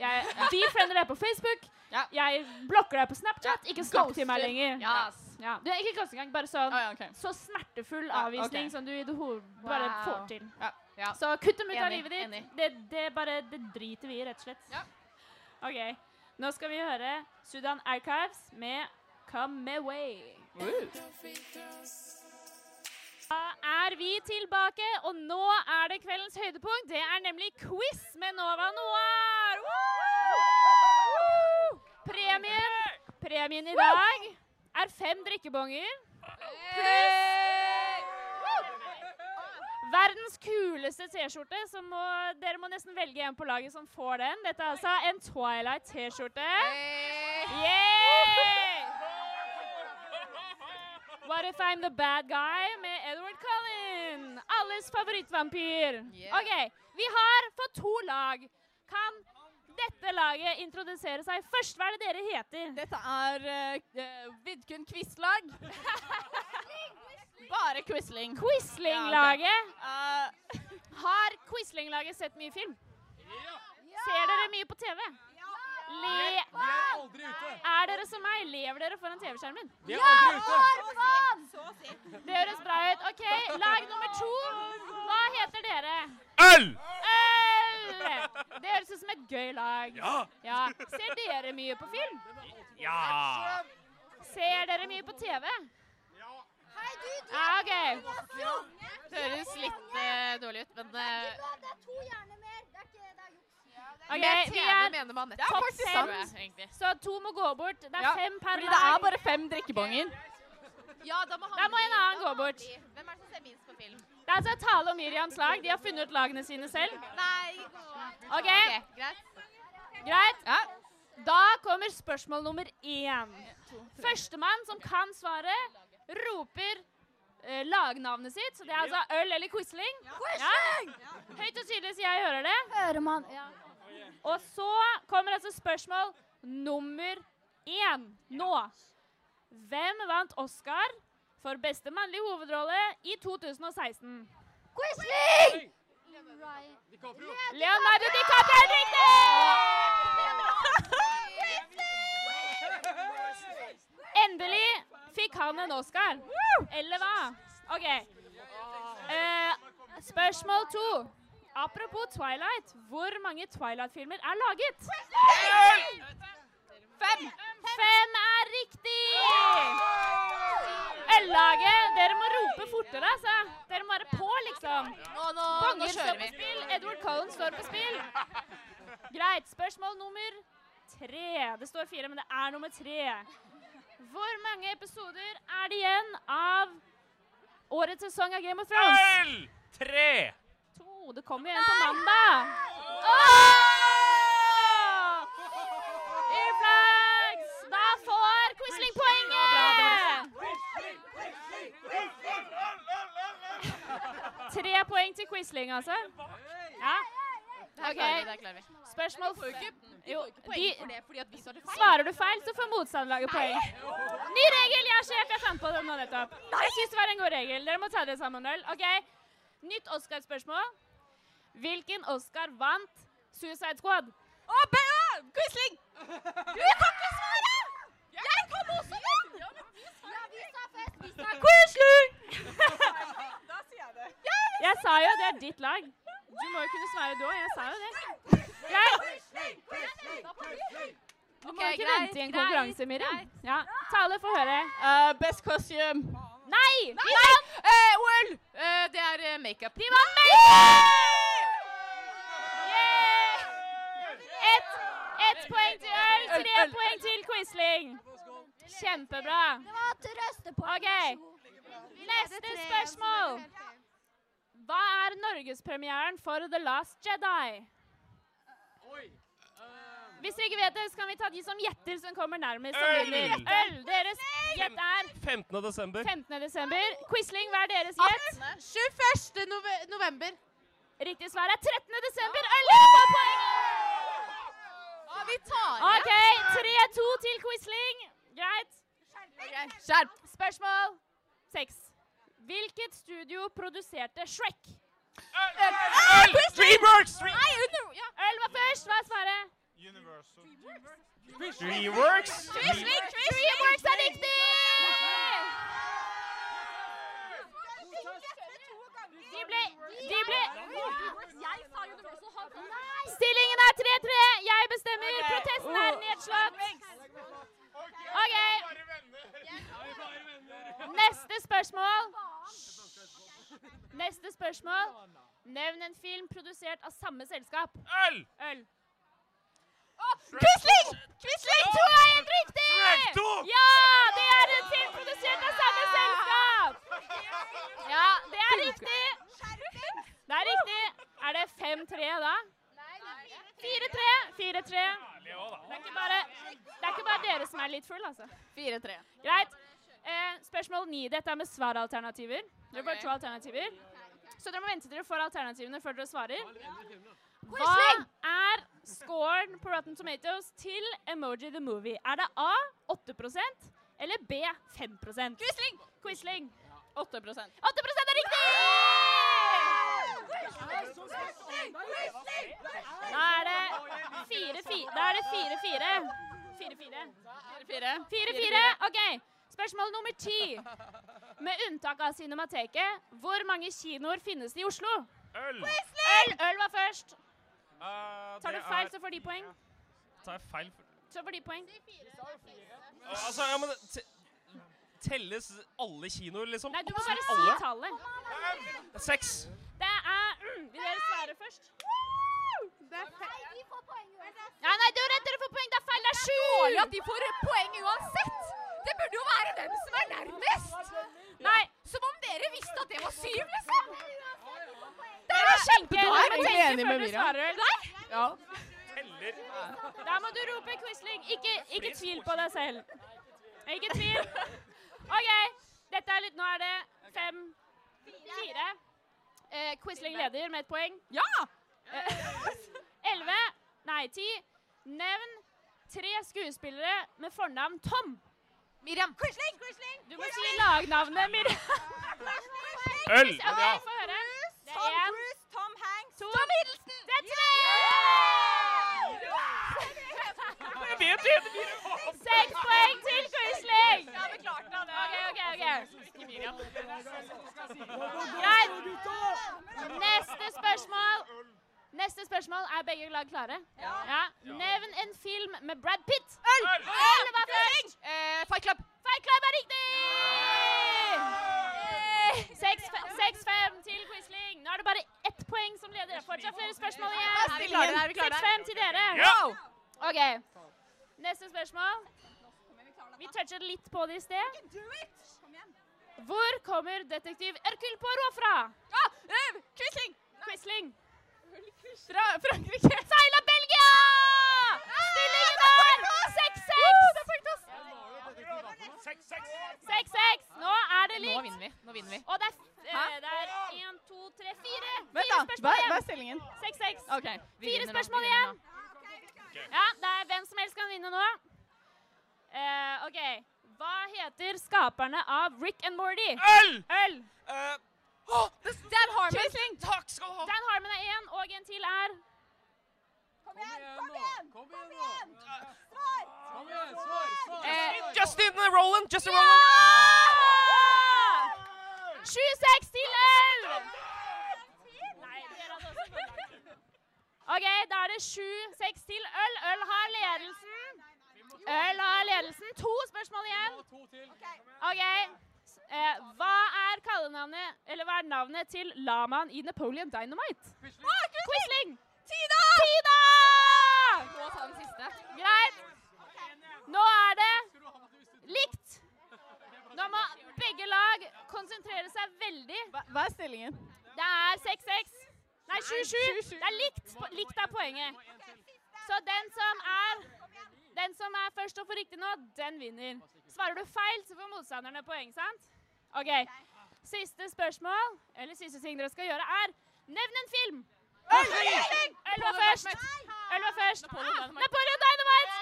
Jeg defriender deg på Facebook.
Ja.
Jeg blokker deg på Snapchat. Ikke snakk til meg
ghoster.
lenger.
Ja, ass.
Ja. Du er ikke ghost engang, bare sånn
Ah, ja, ok.
så smertefull
Ja,
avvisning
ok.
som du i det hoved bare
Wow.
får til.
Ja,
ja.
Så kutt dem ut av
Enig,
livet ditt.
enig.
Det, det, bare, det driter vi i, rett og slett.
Ja.
OK. Nå skal vi høre Sudan Archives med Come Away. Da er vi tilbake, og nå er det kveldens høydepunkt. Det er nemlig quiz med Nova Noir. Woo! Premien, premien i dag er fem drikkebonger pluss Verdens kuleste T-skjorte, så må, dere må nesten velge en på laget som får den. Dette er altså en Twilight T-skjorte. Yeah! What if I'm the bad guy med Edward Cullen? Alles favorittvampyr. OK, vi har fått to lag. Kan dette laget introdusere seg først? Hva er det dere heter?
Dette er uh, Vidkun Quizlag. Bare Quisling.
Quisling-laget.
Eh, [laughs]
Har Quisling-laget sett mye film? Ser dere mye på TV? Le
aldri ute!
er dere som meg? Lever dere foran TV-skjermen?
Vi er aldri ute!
Det høres bra ut. OK, lag nummer to. Hva heter dere?
Øl!
Øl! Det høres ut som et gøy lag.
Ja!
Ja. Ser dere mye på film?
Ja!
Ser dere mye på TV? Ja, OK.
Det høres litt eh, dårlig ut, men eh,
Ok,
med
vi
TV
er
mener man
Det er
topp
faktisk
fem.
sant.
Så to må gå bort. Det er
Ja,
fem per
Fordi det er
lag.
bare fem drikkebonger.
Ja, da må, han
Da må
bli-
en annen
da
gå
han
bort.
bli. Hvem er det som ser minst på film?
Det er altså Tale og Miriams lag. De har funnet ut lagene sine selv.
Nei,
OK,
greit.
greit.
Ja.
Da kommer spørsmål nummer én. Førstemann som kan svaret, roper eh, lagnavnet sitt. Så det er altså øl eller Quisling. Quisling! Høyt og tydelig, så jeg hører det. Hører man, ja. Og så kommer altså spørsmål nummer én nå. Hvem vant Oscar for beste mannlige hovedrolle i 2016? Quisling! Leonardo DiCaprio er riktig! Endelig fikk han en Oscar. Eller hva? OK. Eh, spørsmål to. Apropos Twilight. Hvor mange Twilight-filmer er laget? Fem. Fem er riktig! Øllaget, dere må rope fortere, altså. Dere må være på, liksom. Banger står på spill. Edward Cullen står på spill. Greit. Spørsmål nummer tre. Det står fire, men det er nummer tre. Hvor mange episoder er det igjen av årets sesong av Game of Thrones?
Øl! Tre!
To. Det kommer igjen på mandag. Åh! Earplugs! Da får Quisling poenget! Tre poeng til Quisling, altså. Ja. OK. Spørsmål Jo, de,
fordi at vi svarte
Svarer du feil, så får motstanderlaget poeng. Ny regel! Jeg er sjef, jeg fant på den nå nettopp. Jeg syns det var en god regel. Dere må ta dere sammen, Øl. OK. Nytt Oscar-spørsmål. Hvilken Oscar vant Suicide Squad?
Å, Bea! Quisling! Du kan ikke svare! Jeg kom også inn! Ja, men vi sa ja, vi sa fest. Vi sa Quisling! da sier jeg det.
Jeg sa jo det er ditt lag. Du må jo kunne svare du òg. Jeg sa jo det. Greit. Du må
Ok,
ikke
greit,
vente i en konkurranse, Miriam. Ja. Tale, få høre.
Eh, best costume.
Nei!
Nei! Eh, OL!
Eh, det er eh, makeup.
De vant Mason! Ett et poeng til øl, tre
Øl, øl,
poeng til Quisling. Kjempebra.
var trøstepoeng.
OK. Neste spørsmål. Hva er norgespremieren for The Last Jedi? Hvis dere ikke vet det, så kan vi ta de som gjetter som kommer nærmest. som
Øl!
vinner. Øl! Deres gjett er
15. desember.
15. desember. Quisling, hva er deres gjett?
21. nove- november.
Riktig svar er 13. desember. Øl dere får poenget!
vi tar
OK, 3-2 til Quisling. Greit.
Skjerp.
Spørsmål seks. Hvilket studio produserte Shrek?
Øl! Dreamworks!
Nei, under, ja. Øl var først. Hva er svaret?
Dreamworks!
Dreamworks er riktig! De ble, de ble
Jeg sa Universal Hall.
Stillingen er 3-3. Jeg bestemmer. Protesten er
Oh.
nedslått. OK. Neste spørsmål. Neste spørsmål. Nevn en film produsert av samme selskap.
Øl!
Øl.
Quisling! Quisling!
To er helt riktig!
Shrek 2!
Ja! Det er en film produsert av samme selskap. Ja, det er riktig. 5-3 da? 4-3. 4-3. Det er ikke bare det er ikke bare dere som er litt full, altså.
4-3.
Greit. Eh, spørsmål 9. Dette er med svaralternativer. Dere får
Ok.
to alternativer. Så dere må vente til dere får alternativene før dere svarer. Hva
Quisling!
er scoren på Rotten Tomatoes til Emoji the Movie? Er det A 8 eller B 5 Quisling! Quisling.
8
8 er riktig! Da er det 4-4. Da er det 4-4. 4-4. 4-4. OK. Spørsmål nummer ti. Med unntak av Cinemateket, hvor mange kinoer finnes det i Oslo?
Øl.
Øl, øl var først.
Eh,
Tar du
det
feil,
er-
så får de poeng.
Tar jeg feil? for-
Så får de poeng.
Altså, ja, men te Telles alle kinoer, liksom?
Nei, du må bare si
Alle?
tallet.
Seks.
Det er mm, Vil dere svare først?
Det er feil.
Nei, de får poeng uansett.
Nei, nei, du er redd dere får poeng. Det er feil. Det er
Dårlig
sju!
at de får poeng uansett! Det burde jo være hvem som er nærmest!
Nei.
Som om dere visste at det var syv, liksom!
Det er kjempedårlig.
Da er jeg
Du må tenke
enig
før
med
du
Miriam.
svarer, eller?
Ja.
Teller.
Da må du rope Quisling. Ikke, ikke tvil på deg selv. Ikke tvil. OK. Dette er litt Nå er det fem, fire. Eh, Quisling leder med ett poeng. Ja! [laughs] Elleve. Nei, ti. Nevn tre skuespillere med fornavn Tom. Miriam. Quisling! Du må si lagnavnet, Miriam.
Øl.
[laughs] OK, få høre. Det er én,
Tom Hanks.
to Det er tre!
Jeg vet det! det blir-
Seks poeng til Quisling.
Ja, det klarte han.
OK, OK. ok. Greit. Neste spørsmål. Neste spørsmål. Er begge lag klare? Ja. Nevn en film med Brad Pitt. Øl! Øl var først.
Eh,
Fight Club. Fight Club er riktig! Seks fe- seks fem til Quisling. Nå er det bare ett poeng som leder. Det er Fortsatt flere spørsmål igjen.
Er vi klare der? Er vi klare der?
Seks fem til dere.
Ja.
OK. Neste spørsmål. Vi touchet litt på det i sted. Hvor kommer detektiv Hercule Poirot fra? Ah, eh, Quisling! Quisling. Fra Frankrike. Seila Belgia! Stillingen er 6-6.
Seks, seks.
6-6. Nå er det
Nå
likt.
vinner vi. Nå vinner vi.
Og det er eh, det er én, to, tre, fire.
Vent, da.
Fire
Hva,
spørsmål
hva
igjen.
er stillingen?
6-6.
OK. vi
Fire
vinner nå, vi
spørsmål
vinner
igjen.
nå.
Ja, det er hvem som helst kan vinne nå. Eh, OK. Hva heter skaperne av Rick and Morty?
Øl.
Øl.
Eh,
Dan Harmon.
takk skal du ha.
Dan Harmon er én, og en til er
Justin, Justin Roland. Justin
Ja!
Roland.
Ah!
7-6 til øl! OK, da er det 7-6 til øl. Øl har ledelsen. Øl har ledelsen. To spørsmål igjen. OK. s- Eh, hva er kallenavnet, eller hva er navnet til lamaen i Napoleon Dynamite? Quisling! Tida! Tida!
Gå og ta den siste.
Greit. Nå er det likt. Nå må begge lag konsentrere seg veldig.
Hva, hva er stillingen?
Det er 6-6. Nei, 7-7. Det er likt. Po- Likt er poenget. Så den som er den som er først og får riktig nå, den vinner. Svarer du feil, så får motstanderne poeng, sant? OK. Siste spørsmål, eller siste ting dere skal gjøre, er nevn en film. Øl var først. Øl var først. Ah, Napoleon Dynamite.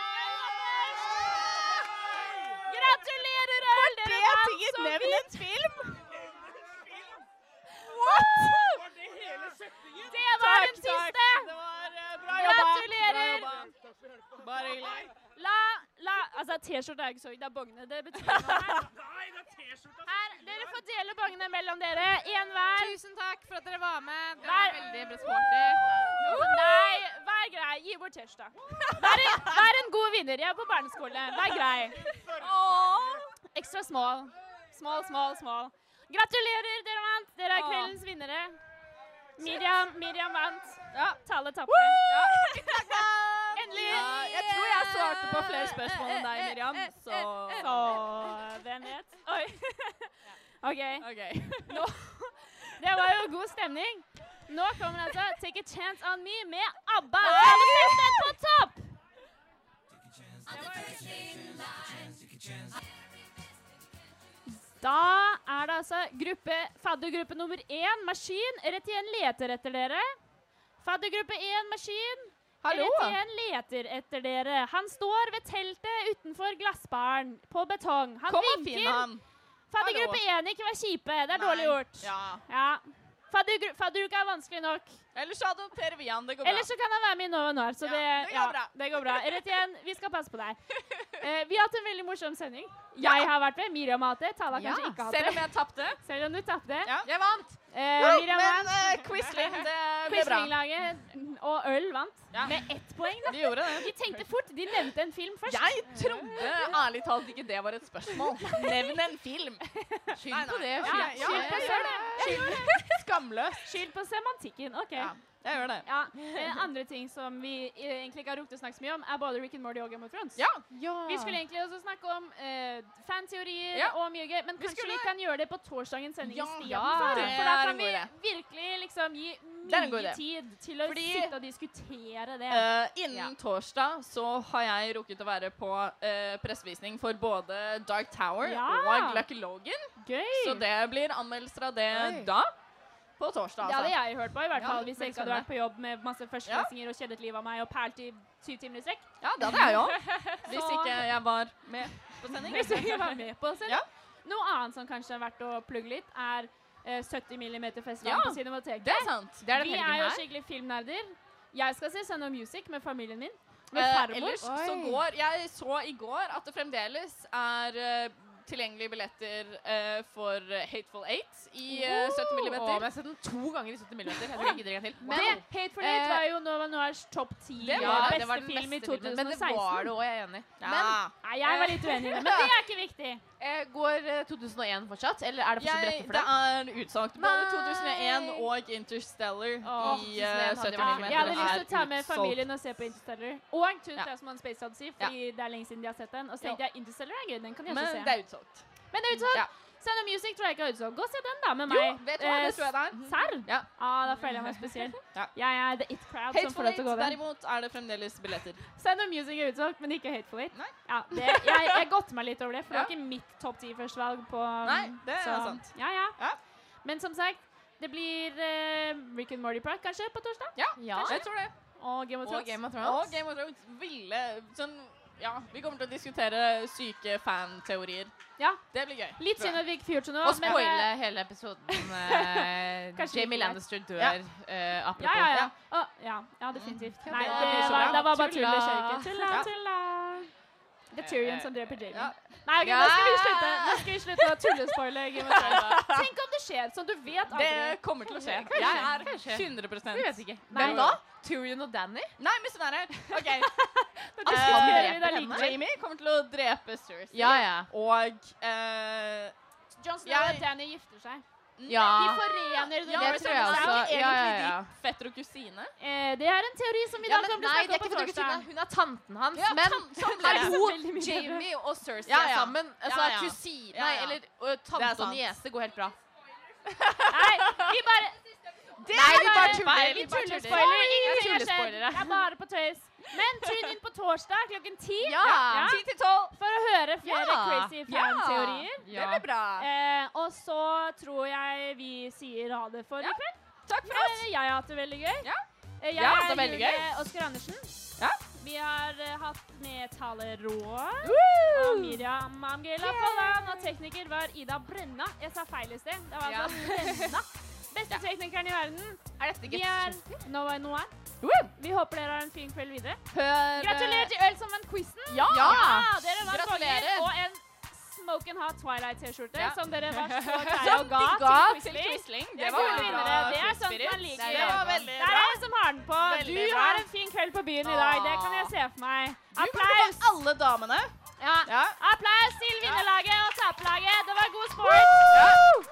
Gratulerer, Øl. Dere
Jeg
vant
tygget
så
nevn
fint.
en film!
Det var den
Takk, takk.
siste.
Det var eh, bra jobba.
Gratulerer.
Bra jobba. Bare hyggelig.
La, la, altså T-skjorte er ikke så Det er bongene. Det betyr noe her. her. Dere får dele bongene mellom dere. Én hver.
Tusen takk for at dere var med. Dere
Vær-
er veldig bra sporty.
Nei, vær grei. Gi bort T-skjorta. Vær, en- vær en god vinner. Jeg er på barneskole. Vær grei. Ekstra small. Small, small, small. Gratulerer, dere vant. Dere er
Åh.
kveldens vinnere. Miriam, Miriam vant.
Ja.
Tale tapte. Endelig.
Ja, jeg tror jeg svarte på flere spørsmål enn deg,
Eh,
Miriam, så
Så hvem vet? Oi. [laughs] OK.
OK.
[laughs] Nå. Det var jo god stemning. Nå kommer altså Take a Chance on Me med ABBA. Alle på topp! Da er det altså gruppe, faddergruppe nummer én, Maskin, rett igjen leter etter dere. Faddergruppe én, Maskin,
Hallo.
rett igjen leter etter dere. Han står ved teltet utenfor glassbaren på betong. Han
Kom og
vinker.
finn han.
Faddergruppe én, ikke vær kjipe. Det er dårlig gjort.
Ja.
Ja. Faddergru- Fadderuka er vanskelig nok.
Ellers så adopterer vi han. Det går bra.
Ellers så kan han være med i Nova Noir. Så
Ja,
det,
det går
ja,
bra.
det går bra. Rett igjen, vi skal passe
[laughs]
på deg. Eh, vi har hatt en veldig morsom sending. Jeg har vært med. Miriam har hatt det. Tala har
Ja,
kanskje ikke hatt
selv om
det.
jeg tapte.
Selv om du tapte.
Jeg vant.
Eh,
Jo,
Miriam
men,
vant.
eh, Quisling, det ble bra.
Quisling-laget og øl vant med ett poeng. Da.
De gjorde det.
De tenkte fort. De nevnte en film først.
Jeg trodde ærlig talt ikke det var et spørsmål. Nevn en film. Skyld på det.
Ja,
Skyld,
ja,
skyld på
jeg
selv.
gjør det.
Skamløs.
Skyld på semantikken. OK.
Jeg gjør det.
Ja, eh, andre ting som vi eh, egentlig ikke har rukket å snakke så mye om, er både Rick and Morty og Game of Thrones.
Ja.
Vi skulle egentlig også snakke om eh, fanteorier
Ja.
og mye gøy, men kanskje
skulle-
vi kan gjøre det på torsdagens sending
Ja,
i
ja,
stedet for.
det
For da
er en
kan vi
god idé.
virkelig liksom gi
Det er en god
mye
idé.
tid til å
Fordi-
sitte og diskutere det.
Eh, innen torsdag så har jeg rukket å være på uh, pressevisning for både Dark Tower
Ja.
og Lucky Logan.
Gøy!
Så det blir anmeldelser av det
Oi.
da. På torsdag,
Det hadde
altså.
jeg hørt på, i hvert
Ja,
fall hvis jeg
veldig
ikke hadde vært på jobb med masse førsteklassinger og kjedet livet av meg og pælt i syv timer i
[laughs]
strekk.
Ja, det hadde jeg
[laughs]
òg. Hvis
Så-
ikke jeg var med på sending.
Hvis jeg var med på selv.
[laughs] Ja.
Noe annet som kanskje er verdt å plugge litt, er eh, 70 mm festival
Ja,
på Cinemateket.
det er sant. Det er den
Vi
helgen
er jo
her.
skikkelig filmnerder. Jeg skal se Sound of Music med familien min. Med
Eh,
farmor.
ellers så går Jeg så i går at det fremdeles er eh, tilgjengelige billetter eh, for eh, Hateful Eight i eh, 70
Å, men jeg
millimeter.
har sett den to ganger i 70 mm. Jeg tror jeg gidder en gang til.
Men
Wow.
Hateful Eight
Eh,
var jo Nova Noirs topp ti
det var,
beste
det var den
film i
beste
2016.
filmen, Men det var det òg, jeg er enig.
Men- Nei, jeg var litt uenig i det, men det er ikke viktig.
[laughs]
Eh, Går eh, 2001 fortsatt, eller er det fortsatt
Jeg,
rette for
det
deg?
er utsolgt. Både
Nei.
2001 og Interstellar
Åh,
i eh,
2001
70
hadde vært
mm.
fint.
Jeg hadde lyst til å ta med
utsolgt.
familien og se på Interstellar. Og 2000
Ja.
Space Odyssey, fordi det er lenge siden de har sett den. Og så tenkte jeg Interstellar er gøy, den kan jeg
Men
også
det
se.
er utsolgt.
Men det er utsolgt.
Ja.
Sound of Music tror jeg ikke er utsolgt. Gå og se den, da, med
Jo,
meg.
vet du hva, det
Eh,
tror jeg det er.
Serr?
Ja.
Ah, da føler jeg meg spesiell.
[laughs] Ja.
Jeg er the it crowd som får
Hateful
lov
Eight,
til å gå den.
derimot, er det fremdeles billetter.
Sound of Music er utsolgt, men ikke Hateful Eight.
Nei.
Ja, det, jeg,
[laughs]
jeg godte meg litt over det, for det var ikke mitt topp ti førstevalg på um,
Nei, det er
så-
sant.
Ja, ja.
Ja.
Men som sagt, det blir eh, Rick and Morty Park kanskje på torsdag?
Ja,
Ja.
jeg tror det.
Og Game of Thrones.
Og Game of
Og
Thrones.
Game of Thrones ville sånn, ja, Vi kommer til å diskutere syke fanteorier.
Ja.
Det blir gøy.
Litt
tror
synd
jeg.
at vi ikke får gjort sånn nå.
Og
men,
spoile
eh,
hele
[laughs]
episoden. eh,
Kanskje vi
Jamie
ikke vet.
Lannister dør.
Ja.
eh, apropos.
Ja, ja, ja. Å, ja, ja definitivt. Nei,
det
det
blir så
var,
bra.
det var bare tull
Tulla.
og kjøyke. Tulla,
Ja.
tulla. Det er Tyrion som dreper Jamie.
Ja.
Nei, ok, nå skal vi slutte Nå skal vi slutte å tullespoile. Game of Thrones.
[laughs]
Tenk om det skjer, sånn du vet aldri.
Det kommer til å skje.
Kanskje,
Jeg er
kanskje.
100
Vi vet ikke.
Nei.
Hvem da? Tyrion og Danny?
Nei, men sånn er det. [laughs] OK.
At
Eh,
han
skal
dreper
vi da
henne?
like?
Jamie kommer til å drepe Cersei.
Ja, ja.
Og eh,
John Snow
Jeg-
og Danny gifter seg.
ja.
De forener det.
Ja,
det
men
tror jeg
sånn,
også.
det er jo
Ja,
egentlig
ja, ja.
de Fetter og kusine.
Eh, det er en teori som vi da
Ja, men
kommer til
nei,
å
det er
snakke om på
ikke fotokusina.
torsdag.
Hun er tanten hans.
Ja,
men
tan-
[laughs]
sånn ble det.
hallo,
[laughs]
veldig mye bedre.
Jamie og Cersei
Ja,
er
ja.
sammen. Altså,
Ja, ja.
kusine
Ja, ja.
Nei, eller ø,
Det er
tante og
sant.
niese går helt bra.
Nei, vi bare
Nei, vi bare
Nei,
tuller.
Vi
Vi
tuller.
bare tuller.
Spoiler. Ingenting har skjedd.
tullespoilere.
Det er bare på tøys. Men tune inn på torsdag klokken ti.
Ja.
Ti til tolv.
For å høre flere
Ja.
crazy
Ja.
fan-teorier.
Det blir bra.
Eh, og så tror jeg vi sier ha det for i
Ja.
kveld.
Takk for oss.
Eh, jeg har hatt det veldig gøy.
Ja.
Eh, jeg
Ja,
er
det var veldig
Julie
gøy.
Oskar Andersen.
Ja.
Vi har eh, hatt med Tale Rå.
Woo!
Og Miriam Amgela Folland. Og tekniker var Ida Brenna. Jeg sa feil i sted. Det var
Ja.
altså
[laughs]
Brenna. Beste teknikeren i verden.
Er dette
Vi
gutt?
er Nova Noir.
Woo!
Vi håper dere har en fin kveld videre.
Hør eh,
Gratulerer til øl som vant quizen.
Ja!
dere vant
Gratulerer.
konger og en smoking hot Twilight-T-skjorte
Ja.
som dere
[laughs]
var så kjære
Som
og
de
ga
ga
til
til
Quisling.
Quisling.
Det var veldig bra. Det er sånt man liker.
Det var veldig
Det er
bra.
jeg som har den på.
Veldig
Du
bra.
har en fin kveld på byen i dag. Det kan jeg se for meg. Applaus!
Alle damene.
Ja.
Ja.
Applaus til vinnerlaget og taperlaget. Det var god sport.